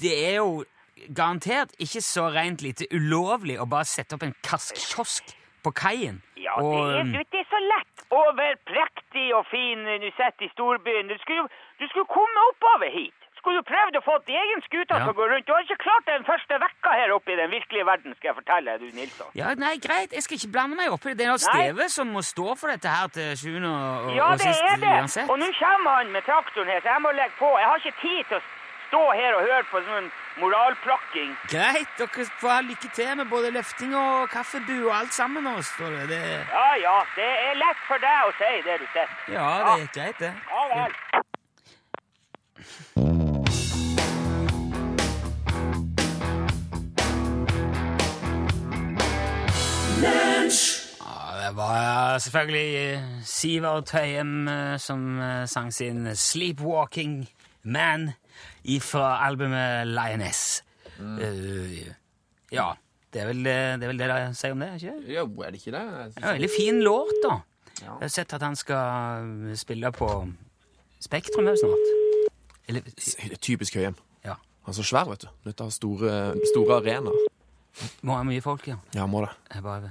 Speaker 3: det er jo garantert ikke så rent lite ulovlig å bare sette opp en kaskkiosk på kaien.
Speaker 1: Ja,
Speaker 3: og, um,
Speaker 1: det, er, du vet, det er så lett å være prektig og fin når du sitter i storbyen. Du skulle, jo- du skulle komme oppover hit. Skulle du prøvd å få din egen skute
Speaker 3: Ja.
Speaker 1: til å gå rundt. Du har ikke klart det den første vekka her oppe i den virkelige verden, skal jeg fortelle deg, du Nilsson.
Speaker 3: Ja, nei, greit, jeg skal ikke blande meg opp i det. Det er noe
Speaker 1: Nei.
Speaker 3: Steve som må stå for dette her til sjuende og, og,
Speaker 1: Ja,
Speaker 3: og
Speaker 1: det
Speaker 3: sist
Speaker 1: er det.
Speaker 3: uansett.
Speaker 1: Og nå kommer han med traktoren her, så jeg må legge på. Jeg har ikke tid til å stå her og høre på sånn moralplakking.
Speaker 3: Greit, dere får ha lykke til med både løfting og kaffebu og alt sammen nå, står det. det
Speaker 1: Ja, ja, det er lett for deg å si det du sier.
Speaker 3: ja, det er greit, det.
Speaker 1: Ja vel.
Speaker 3: Ja, det var selvfølgelig eh, Sivert Høyem eh, som eh, sang sin Sleepwalking Man fra albumet Lioness.
Speaker 1: Mm.
Speaker 3: Eh, ja, det er vel eh, det er vel det de sier om det, ikke
Speaker 4: Jo, er det ikke det? Jeg synes-
Speaker 3: Det er en veldig fin låt, da.
Speaker 4: Ja.
Speaker 3: Jeg har sett at han skal eh, spille på Spektrum også snart. Eller
Speaker 4: Det er Typisk Høyem.
Speaker 3: Ja.
Speaker 4: Han er så svær, vet du. Nødt til å ha store, store arenaer.
Speaker 3: Må ha mye folk, ja.
Speaker 4: Ja, må det.
Speaker 3: Jeg bare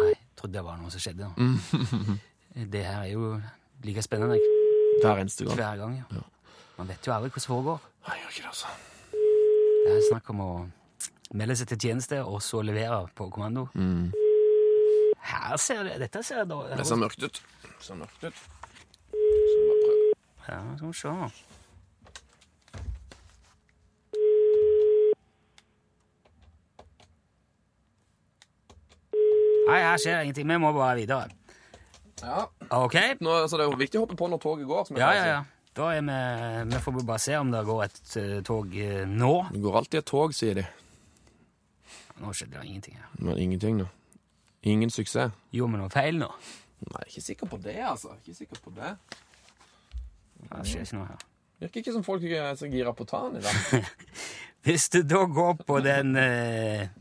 Speaker 3: Nei, trodde det var noe som skjedde. da. det her er jo like spennende
Speaker 4: Hver eneste gang.
Speaker 3: hver gang, ja. Man vet jo aldri hvordan det foregår.
Speaker 4: Nei, jeg gjør ikke det, altså.
Speaker 3: Det er snakk om å melde seg til tjeneste og så levere på kommando. Her ser det, Dette ser da
Speaker 4: Det ser mørkt ut. Det ser mørkt ut.
Speaker 3: Ja, skal vi se. Nei, her skjer det ingenting. Vi må bare videre.
Speaker 4: Ja.
Speaker 3: Ok.
Speaker 4: Nå, altså, det er jo viktig å hoppe på når toget går. Som jeg
Speaker 3: Ja,
Speaker 4: pleier å
Speaker 3: ja,
Speaker 4: si.
Speaker 3: ja. Da er vi Vi får bare se om det går et eh, tog eh, nå.
Speaker 4: Det går alltid et tog, sier de.
Speaker 3: Nå skjedde det ingenting her.
Speaker 4: Men ingenting, da. Ingen suksess.
Speaker 3: Gjorde vi noe feil nå?
Speaker 4: Nei, ikke sikker på det, altså. Ikke sikker på det.
Speaker 3: Ja, Det skjer ikke noe her.
Speaker 4: Virker ikke som folk eh, er så gira på å ta den i dag.
Speaker 3: Hvis du da går på den eh,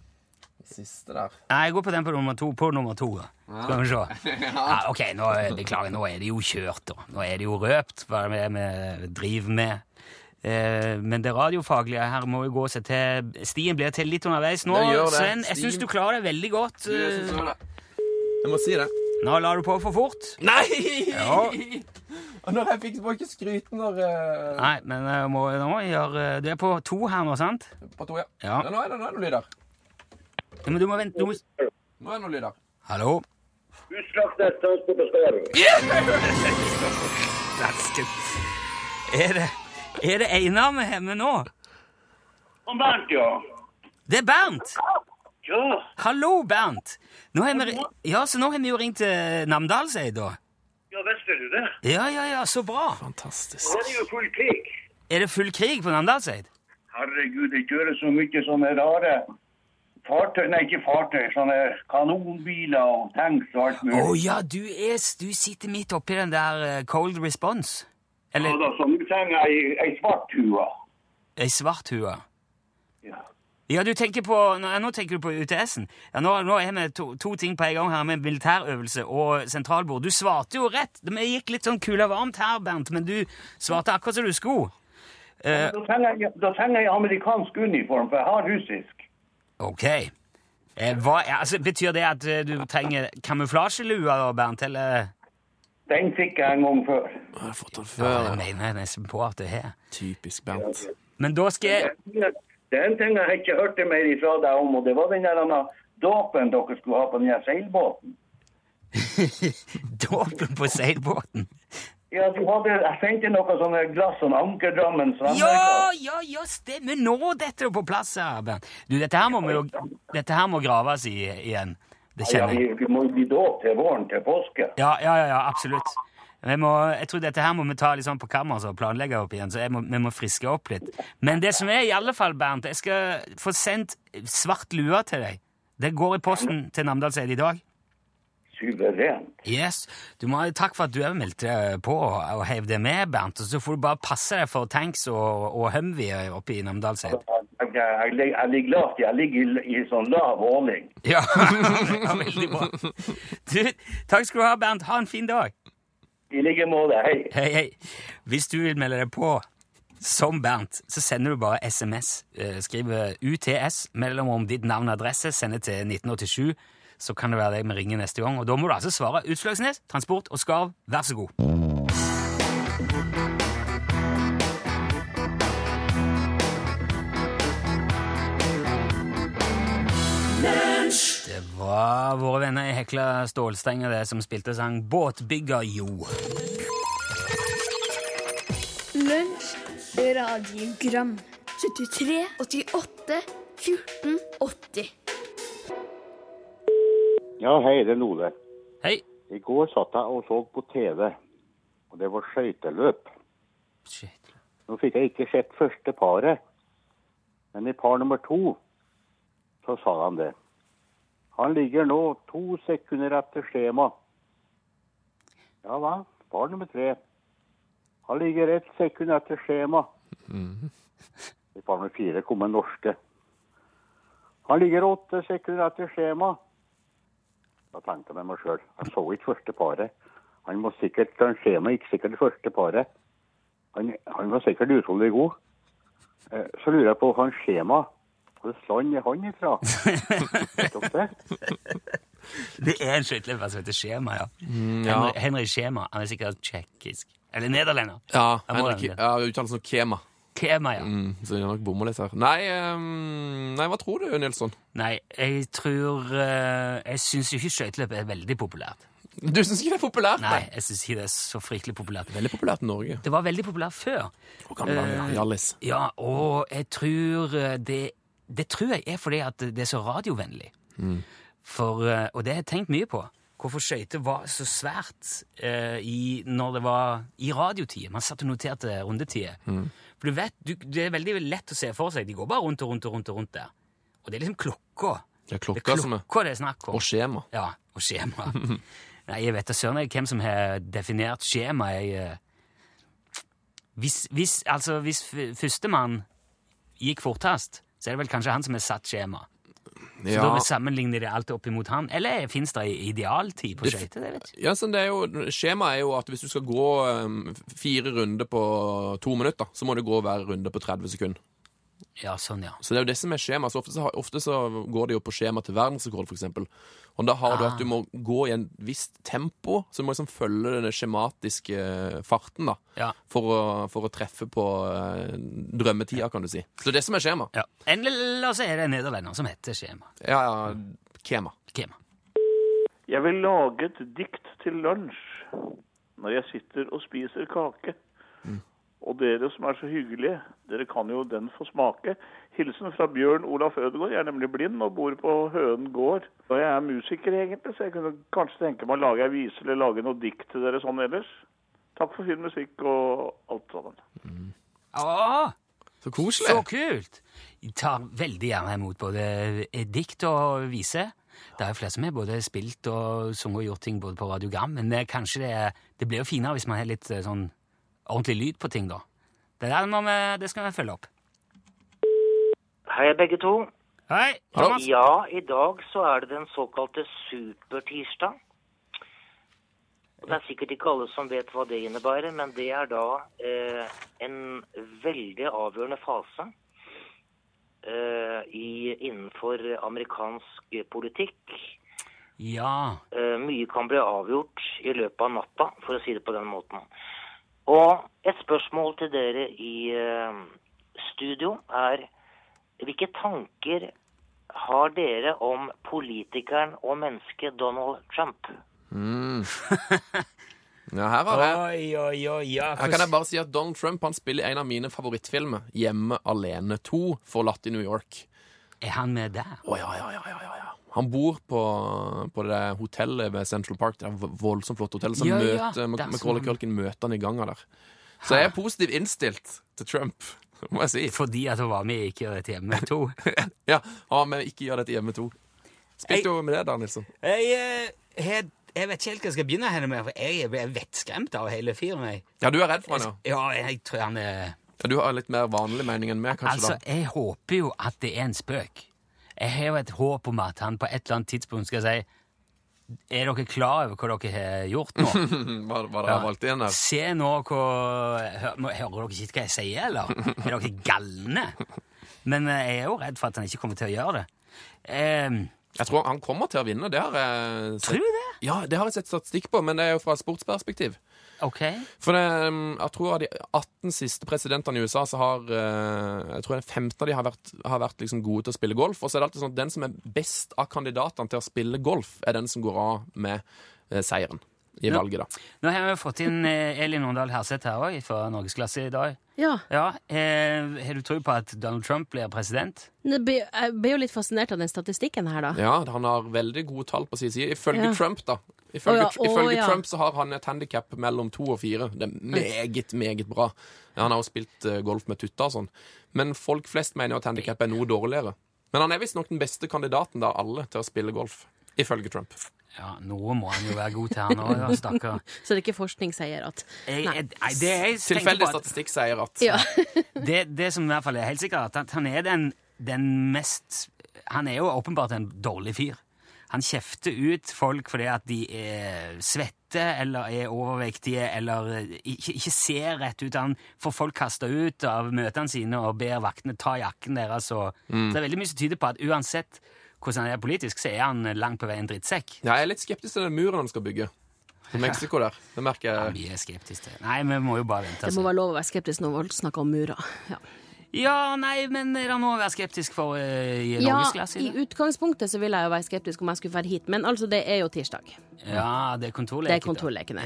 Speaker 4: Siste der.
Speaker 3: Nei, jeg går på den på nummer to. På nummer to, da. Skal vi se. Ja, ok, nå, er- beklager, nå er det jo kjørt, da. Nå er det jo røpt hva det er vi driver med. Eh, men det radiofaglige her må jo gå seg til Stien blir til litt underveis nå.
Speaker 4: Det gjør det.
Speaker 3: Sven, jeg syns
Speaker 4: Stien-
Speaker 3: du klarer deg veldig godt. Eh,
Speaker 4: Jeg må si det.
Speaker 3: Nå la du på for fort.
Speaker 4: Nei!
Speaker 3: Ja.
Speaker 4: Og når jeg fikk må jeg ikke skryte når eh,
Speaker 3: Nei, men jeg må, nå må jeg gjøre eh, Du er på to her nå, sant?
Speaker 4: På to, ja.
Speaker 3: Ja.
Speaker 4: Nå er det nå er det noen lyder.
Speaker 3: Ja, Men du må vente. Du må...
Speaker 4: Nå er det noen lyder.
Speaker 3: Hallo?
Speaker 5: Utslagsnes transport og sparing.
Speaker 3: Dansken. Er det, er det Einar vi har med nå?
Speaker 5: Kom Bernt, ja.
Speaker 3: Det er Bernt!
Speaker 5: Ja,
Speaker 3: Hallo, Bernt! Nå har vi, ja, så nå har vi jo ringt til Namdalseid, da.
Speaker 5: ja visste du det?
Speaker 3: Ja, ja, ja, så bra.
Speaker 5: Nå er det jo full krig.
Speaker 3: Er det full krig på Namdalseid?
Speaker 5: Herregud, det kjører så mye sånne rare fartøy, nei ikke fartøy, sånne kanonbiler og tanks og alt
Speaker 3: Å
Speaker 5: mulig.
Speaker 3: ja, du, er, s- du sitter midt oppi den der eh, cold response.
Speaker 5: Ja,
Speaker 3: Eller
Speaker 5: da, så nå trenger jeg ei- ei svart hua.
Speaker 3: ei svarthue.
Speaker 5: Ja.
Speaker 3: Ja, du tenker på, nå, nå tenker du på UTS-en. Ja, nå, nå er vi to, to ting på en gang her med militærøvelse og sentralbord. Du svarte jo rett. Vi gikk litt sånn kula varmt her, Bernt, men du svarte akkurat som du skulle.
Speaker 5: Da trenger jeg- da trenger jeg amerikansk uniform, for jeg har russisk.
Speaker 3: Ok. Eh, hva, ja, altså, betyr det at eh, du trenger kamuflasjelue, da, Bernt, eller?
Speaker 5: Den fikk jeg en gang før.
Speaker 4: Jeg har fått den
Speaker 3: Ja,
Speaker 4: før.
Speaker 3: jeg mener nesten på at det er her.
Speaker 4: Typisk Bernt.
Speaker 3: Men da skal jeg...
Speaker 5: Det er en ting jeg ikke hørte mer ifra deg om, og det var den der andre dåpen dere skulle ha på den der seilbåten.
Speaker 3: Dåpen på seilbåten.
Speaker 5: Ja, du hadde, jeg sendte noe sånne glass, sånn ankerdrammen
Speaker 3: Ja, ja, ja, stemmer nå dette er på plass her, Bernt. Du, dette her må, vi jo, dette her må graves i, igjen. Det
Speaker 5: Ja,
Speaker 3: kjenner jeg.
Speaker 5: vi, vi må jo bli dåp til våren, til påske.
Speaker 3: Ja, ja, ja, ja absolutt. Vi må, jeg tror dette her må vi ta litt sånn på kammeret og planlegge opp igjen, så jeg må, vi må friske opp litt. Men det som er i alle fall, Bernt, jeg skal få sendt svart lue til deg. Det går i posten til Namdalseid i dag.
Speaker 5: Suverent.
Speaker 3: Yes. Du må ha takk for at du òg meldte deg på og, og heiv deg med, Bernt. Og så får du bare passe deg for tanks og, og Humvee oppe i Namdalseid.
Speaker 5: Jeg, jeg, jeg, jeg ligger lavt, jeg ligger i, i sånn lav åling.
Speaker 3: Ja. ja, veldig bra. Du, takk skal du ha, Bernt. Ha en fin dag.
Speaker 5: I like måte, hei.
Speaker 3: Hei, hei. Hvis du vil melde deg på som Bernt, så sender du bare SMS. Eh, Skriver UTS mellom om ditt navn og adresse, sender til 1987. Så kan det være deg vi ringer neste gang. Og da må du altså svare Utslagsnes, Transport og Skarv. Vær så god. Det var våre venner i Hekla Stålstenger det som spilte sang Båtbygger Jo.
Speaker 6: Lunsj radiogram 73 88 14 80
Speaker 7: Ja, hei, det er Lole.
Speaker 3: Hei.
Speaker 7: I går satt jeg og så på TV, og det var skøyteløp.
Speaker 3: Shit.
Speaker 7: Nå fikk jeg ikke sett første paret, men i par nummer to så sa han det. Han ligger nå to sekunder etter skjema. Ja hva? Par nummer tre. Han ligger ett sekund etter skjema. I par nummer fire kom en norske. Han ligger åtte sekunder etter skjema. Da tenkte jeg med meg sjøl. Jeg så ikke første paret. Han må sikkert, den skjemaet gikk sikkert i første paret. Han, han var sikkert utålmodig god. Eh, Så lurer jeg på hans skjema. Hvilket land er han ifra? Vet dere det?
Speaker 3: Det er en skøyteløper som heter Skjema, ja.
Speaker 4: Mm, ja.
Speaker 3: Henry, Henry Skjema. Han er sikkert tsjekkisk. Eller nederlender.
Speaker 4: Ja,
Speaker 3: Jeg må
Speaker 4: Henrik,
Speaker 3: den.
Speaker 4: ja, uttalelsen av Kema.
Speaker 3: Tema, ja.
Speaker 4: Mm, så jeg har nok bomma litt her. Nei, ehm, nei, hva tror du, Nilsson?
Speaker 3: Nei, jeg tror eh, Jeg syns jo ikke skøyteløp er veldig populært.
Speaker 4: Du syns ikke det er populært?
Speaker 3: Nei, jeg syns ikke det er så fryktelig populært.
Speaker 4: Veldig populært i Norge.
Speaker 3: Det var veldig populært før.
Speaker 4: Hvor gammel er han?
Speaker 3: Eh,
Speaker 4: Hjallis.
Speaker 3: Ja, og jeg tror eh, det Det tror jeg er fordi at det er så radiovennlig.
Speaker 4: Mm.
Speaker 3: For, eh, og det har jeg tenkt mye på. Hvorfor skøyter var så svært eh, i, når det var i radiotid. Man satt og noterte rundetider.
Speaker 4: Mm.
Speaker 3: For du vet, du, det er veldig lett å se for seg. De går bare rundt og rundt og rundt. Og rundt der. Og det er liksom klokka. Det
Speaker 4: Det er
Speaker 3: er
Speaker 4: klokka som er
Speaker 3: klokka det er snakk om.
Speaker 4: Og skjema.
Speaker 3: Ja, og skjema. Nei, jeg vet da søren jeg hvem som har definert skjema. Jeg, eh, hvis, hvis, altså, hvis f- førstemann gikk fortest, så er det vel kanskje han som har satt skjema. Så da
Speaker 4: Ja.
Speaker 3: må vi sammenligne det alltid opp imot han. Eller fins det ei idealtid på
Speaker 4: Det f-
Speaker 3: skøyter? det vet jeg ikke.
Speaker 4: Ja, sånn det er jo, skjema er jo at hvis du skal gå ehm, fire runder på to minutter, så må du gå hver runde på 30 sekunder.
Speaker 3: Ja, sånn, ja.
Speaker 4: Så det er jo det som er skjema. Så ofte, så, har- ofte så går det jo på skjema til verdensrekord, for eksempel. Og da har du at du må gå i en visst tempo, så du må liksom følge den skjematiske eh, farten, da.
Speaker 3: Ja.
Speaker 4: For, å, for å treffe på eh, drømmetida, kan du si. Så det er det som er skjema.
Speaker 3: ja. Eller så er det en nederlender som heter skjema.
Speaker 4: Ja, ja, kema.
Speaker 3: Kema.
Speaker 7: Jeg vil lage et dikt til lunsj når jeg sitter og spiser kake. Og dere som er så hyggelige, dere kan jo den få smake. Hilsen fra Bjørn Olaf Ødegaard. Jeg er nemlig blind og bor på Høen gård. Og jeg er musiker egentlig, så jeg kunne kanskje tenke meg å lage ei vise eller lage noe dikt til dere sånn ellers. Takk for fin musikk og alt sammen.
Speaker 3: Åh!
Speaker 4: Så koselig.
Speaker 3: Så kult! Jeg tar veldig gjerne imot både eh, dikt og vise. Det er jo flere som har både spilt og sunget og gjort ting både på radiogram, men eh, kanskje det, det blir jo finere hvis man har litt eh, sånn ordentlig lyd på ting, da. Det der må vi, det skal vi følge opp.
Speaker 1: Hei, begge to.
Speaker 3: Hei,
Speaker 4: Hallo.
Speaker 3: Thomas.
Speaker 1: Ja, i dag så er det den såkalte supertirsdag. Og Det er sikkert ikke alle som vet hva det innebærer, men det er da eh, en veldig avgjørende fase eh, i, innenfor amerikansk politikk.
Speaker 3: Ja.
Speaker 1: Eh, mye kan bli avgjort i løpet av natta, for å si det på den måten. Og et spørsmål til dere i eh, studio er hvilke tanker har dere om politikeren og mennesket Donald Trump?
Speaker 4: Ja, her har jeg
Speaker 3: Oi, oi, oi, ja.
Speaker 4: Her kan jeg bare si at Donald Trump han spiller i en av mine favorittfilmer, 'Hjemme alene 2', forlatt i New York.
Speaker 3: Er han med der?
Speaker 4: Å, ja, ja, ja, ja, ja, ja. Han bor på, på det hotellet ved Central Park. Det er et voldsomt flott hotell. Så
Speaker 3: Ja, ja,
Speaker 4: møter,
Speaker 3: det er
Speaker 4: Macaulay
Speaker 3: sånn.
Speaker 4: Culkin møter han i ganga der. Så jeg er positivt innstilt til Trump, må jeg si.
Speaker 3: Fordi at hun var med i Ikke gjør dette hjemme to.
Speaker 4: Ja, ah, men ikke gjør dette hjemme to. Spilte jo med det, da, Nilsson.
Speaker 3: Jeg, eh, har- jeg vet ikke helt hva jeg skal begynne henne med, for jeg er vettskremt av hele fyren. jeg.
Speaker 4: Ja, du er redd for han, ja.
Speaker 3: Ja, jeg tror han er
Speaker 4: ja? Du har litt mer vanlig mening enn meg, kanskje?
Speaker 3: Altså, jeg håper jo at det er en spøk. Jeg har jo et håp om at han på et eller annet tidspunkt skal si Er dere klar over hva dere har gjort nå?
Speaker 4: da Mm, Hva hva dere har valgt inn her?
Speaker 3: Se nå hva hør, må- Hører dere ikke hva jeg sier, eller? Er dere galne? Men eh, jeg er jo redd for at han ikke kommer til å gjøre det. Ehm,
Speaker 4: Jeg tror han kommer til å vinne. Det har jeg sett.
Speaker 3: tror du det?
Speaker 4: Ja, det har jeg sett statistikk på, men det er jo fra et sportsperspektiv.
Speaker 3: Ok.
Speaker 4: For det, um, jeg tror av de 18 siste presidentene i USA, så har eh, jeg tror en femte av de har vært, har vært liksom gode til å spille golf. Og så er det alltid sånn at den som er best av kandidatene til å spille golf, er den som går av med eh, seieren i
Speaker 3: Ja.
Speaker 4: valget, da.
Speaker 3: Nå har vi fått inn eh, Elin Åndal Herseth her òg, fra norgesklasse i dag.
Speaker 8: Ja.
Speaker 3: Ja, eh, Har du tro på at Donald Trump blir president?
Speaker 8: Jeg ble, jeg ble jo litt fascinert av den statistikken her, da.
Speaker 4: Ja, han har veldig gode tall på sin side. Ifølge
Speaker 8: Ja.
Speaker 4: Trump, da. Ifølge,
Speaker 8: Å ja, å
Speaker 4: ifølge
Speaker 8: ja.
Speaker 4: Trump så har han et handikap mellom to og fire. Det er meget, meget bra. Han har jo spilt eh, golf med tutta og sånn. Men folk flest mener jo at handikap er noe dårligere. Men han er visstnok den beste kandidaten av alle til å spille golf. Ifølge Trump.
Speaker 3: Ja, Noe må han jo være god til, han òg, stakkar.
Speaker 8: Så det er ikke forskning sier at
Speaker 3: Jeg, jeg, nei, det jeg tenker
Speaker 4: Tilfeldig
Speaker 3: på at
Speaker 4: statistikk sier at
Speaker 8: Ja.
Speaker 3: det, det som i hvert fall er helt sikkert, at han er den, den mest Han er jo åpenbart en dårlig fyr. Han kjefter ut folk fordi at de er svette eller er overvektige eller eh, ikke, ikke ser rett ut. Han får folk kasta ut av møtene sine og ber vaktene ta jakken deres. Og,
Speaker 4: Mm.
Speaker 3: Så det er veldig mye som tyder på at uansett hvordan han er politisk, så er han langt på vei en drittsekk.
Speaker 4: Ja, jeg er litt skeptisk til den muren han skal bygge. til Mexico der. Det merker jeg.
Speaker 3: vi er skeptiske til Nei, vi må jo bare vente.
Speaker 8: Det må være lov å være skeptisk når folk snakker om murer. Ja,
Speaker 3: Ja, nei, men er det noe å være skeptisk for eh, i
Speaker 8: ja
Speaker 3: norgesklasse?
Speaker 8: i utgangspunktet så ville jeg jo være skeptisk om jeg skulle være hit, men altså, det er jo tirsdag.
Speaker 3: Ja, det er
Speaker 8: Det
Speaker 3: kontorleke.
Speaker 8: er kontorlekene.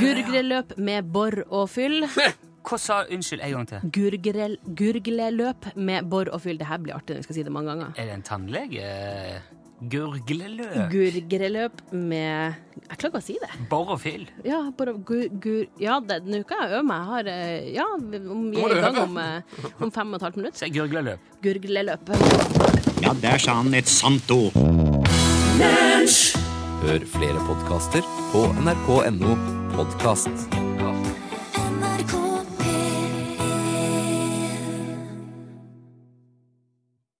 Speaker 8: Gurgreløp med bor og fyll.
Speaker 3: Hva sa Unnskyld, en gang til.
Speaker 8: Gurgrel, gurgleløp med bor og fyll. Det her blir artig når vi skal si det mange ganger.
Speaker 3: Er det en tannlege? Gurgleløk?
Speaker 8: Gurgreløp med Jeg klarer ikke å si det.
Speaker 3: Bor og fyll?
Speaker 8: Ja, bor og gur... gur ja, det- nå kan jeg øve meg. Jeg har eh, Ja, om vi
Speaker 3: Nå må
Speaker 8: er
Speaker 3: du
Speaker 8: i gang
Speaker 3: øve.
Speaker 8: om, eh, om fem og et halvt minutt.
Speaker 3: Det er gurgleløp.
Speaker 8: Gurgleløp.
Speaker 9: Ja, der sa han et sant ord.
Speaker 10: Hør flere podkaster på nrk.no podkast.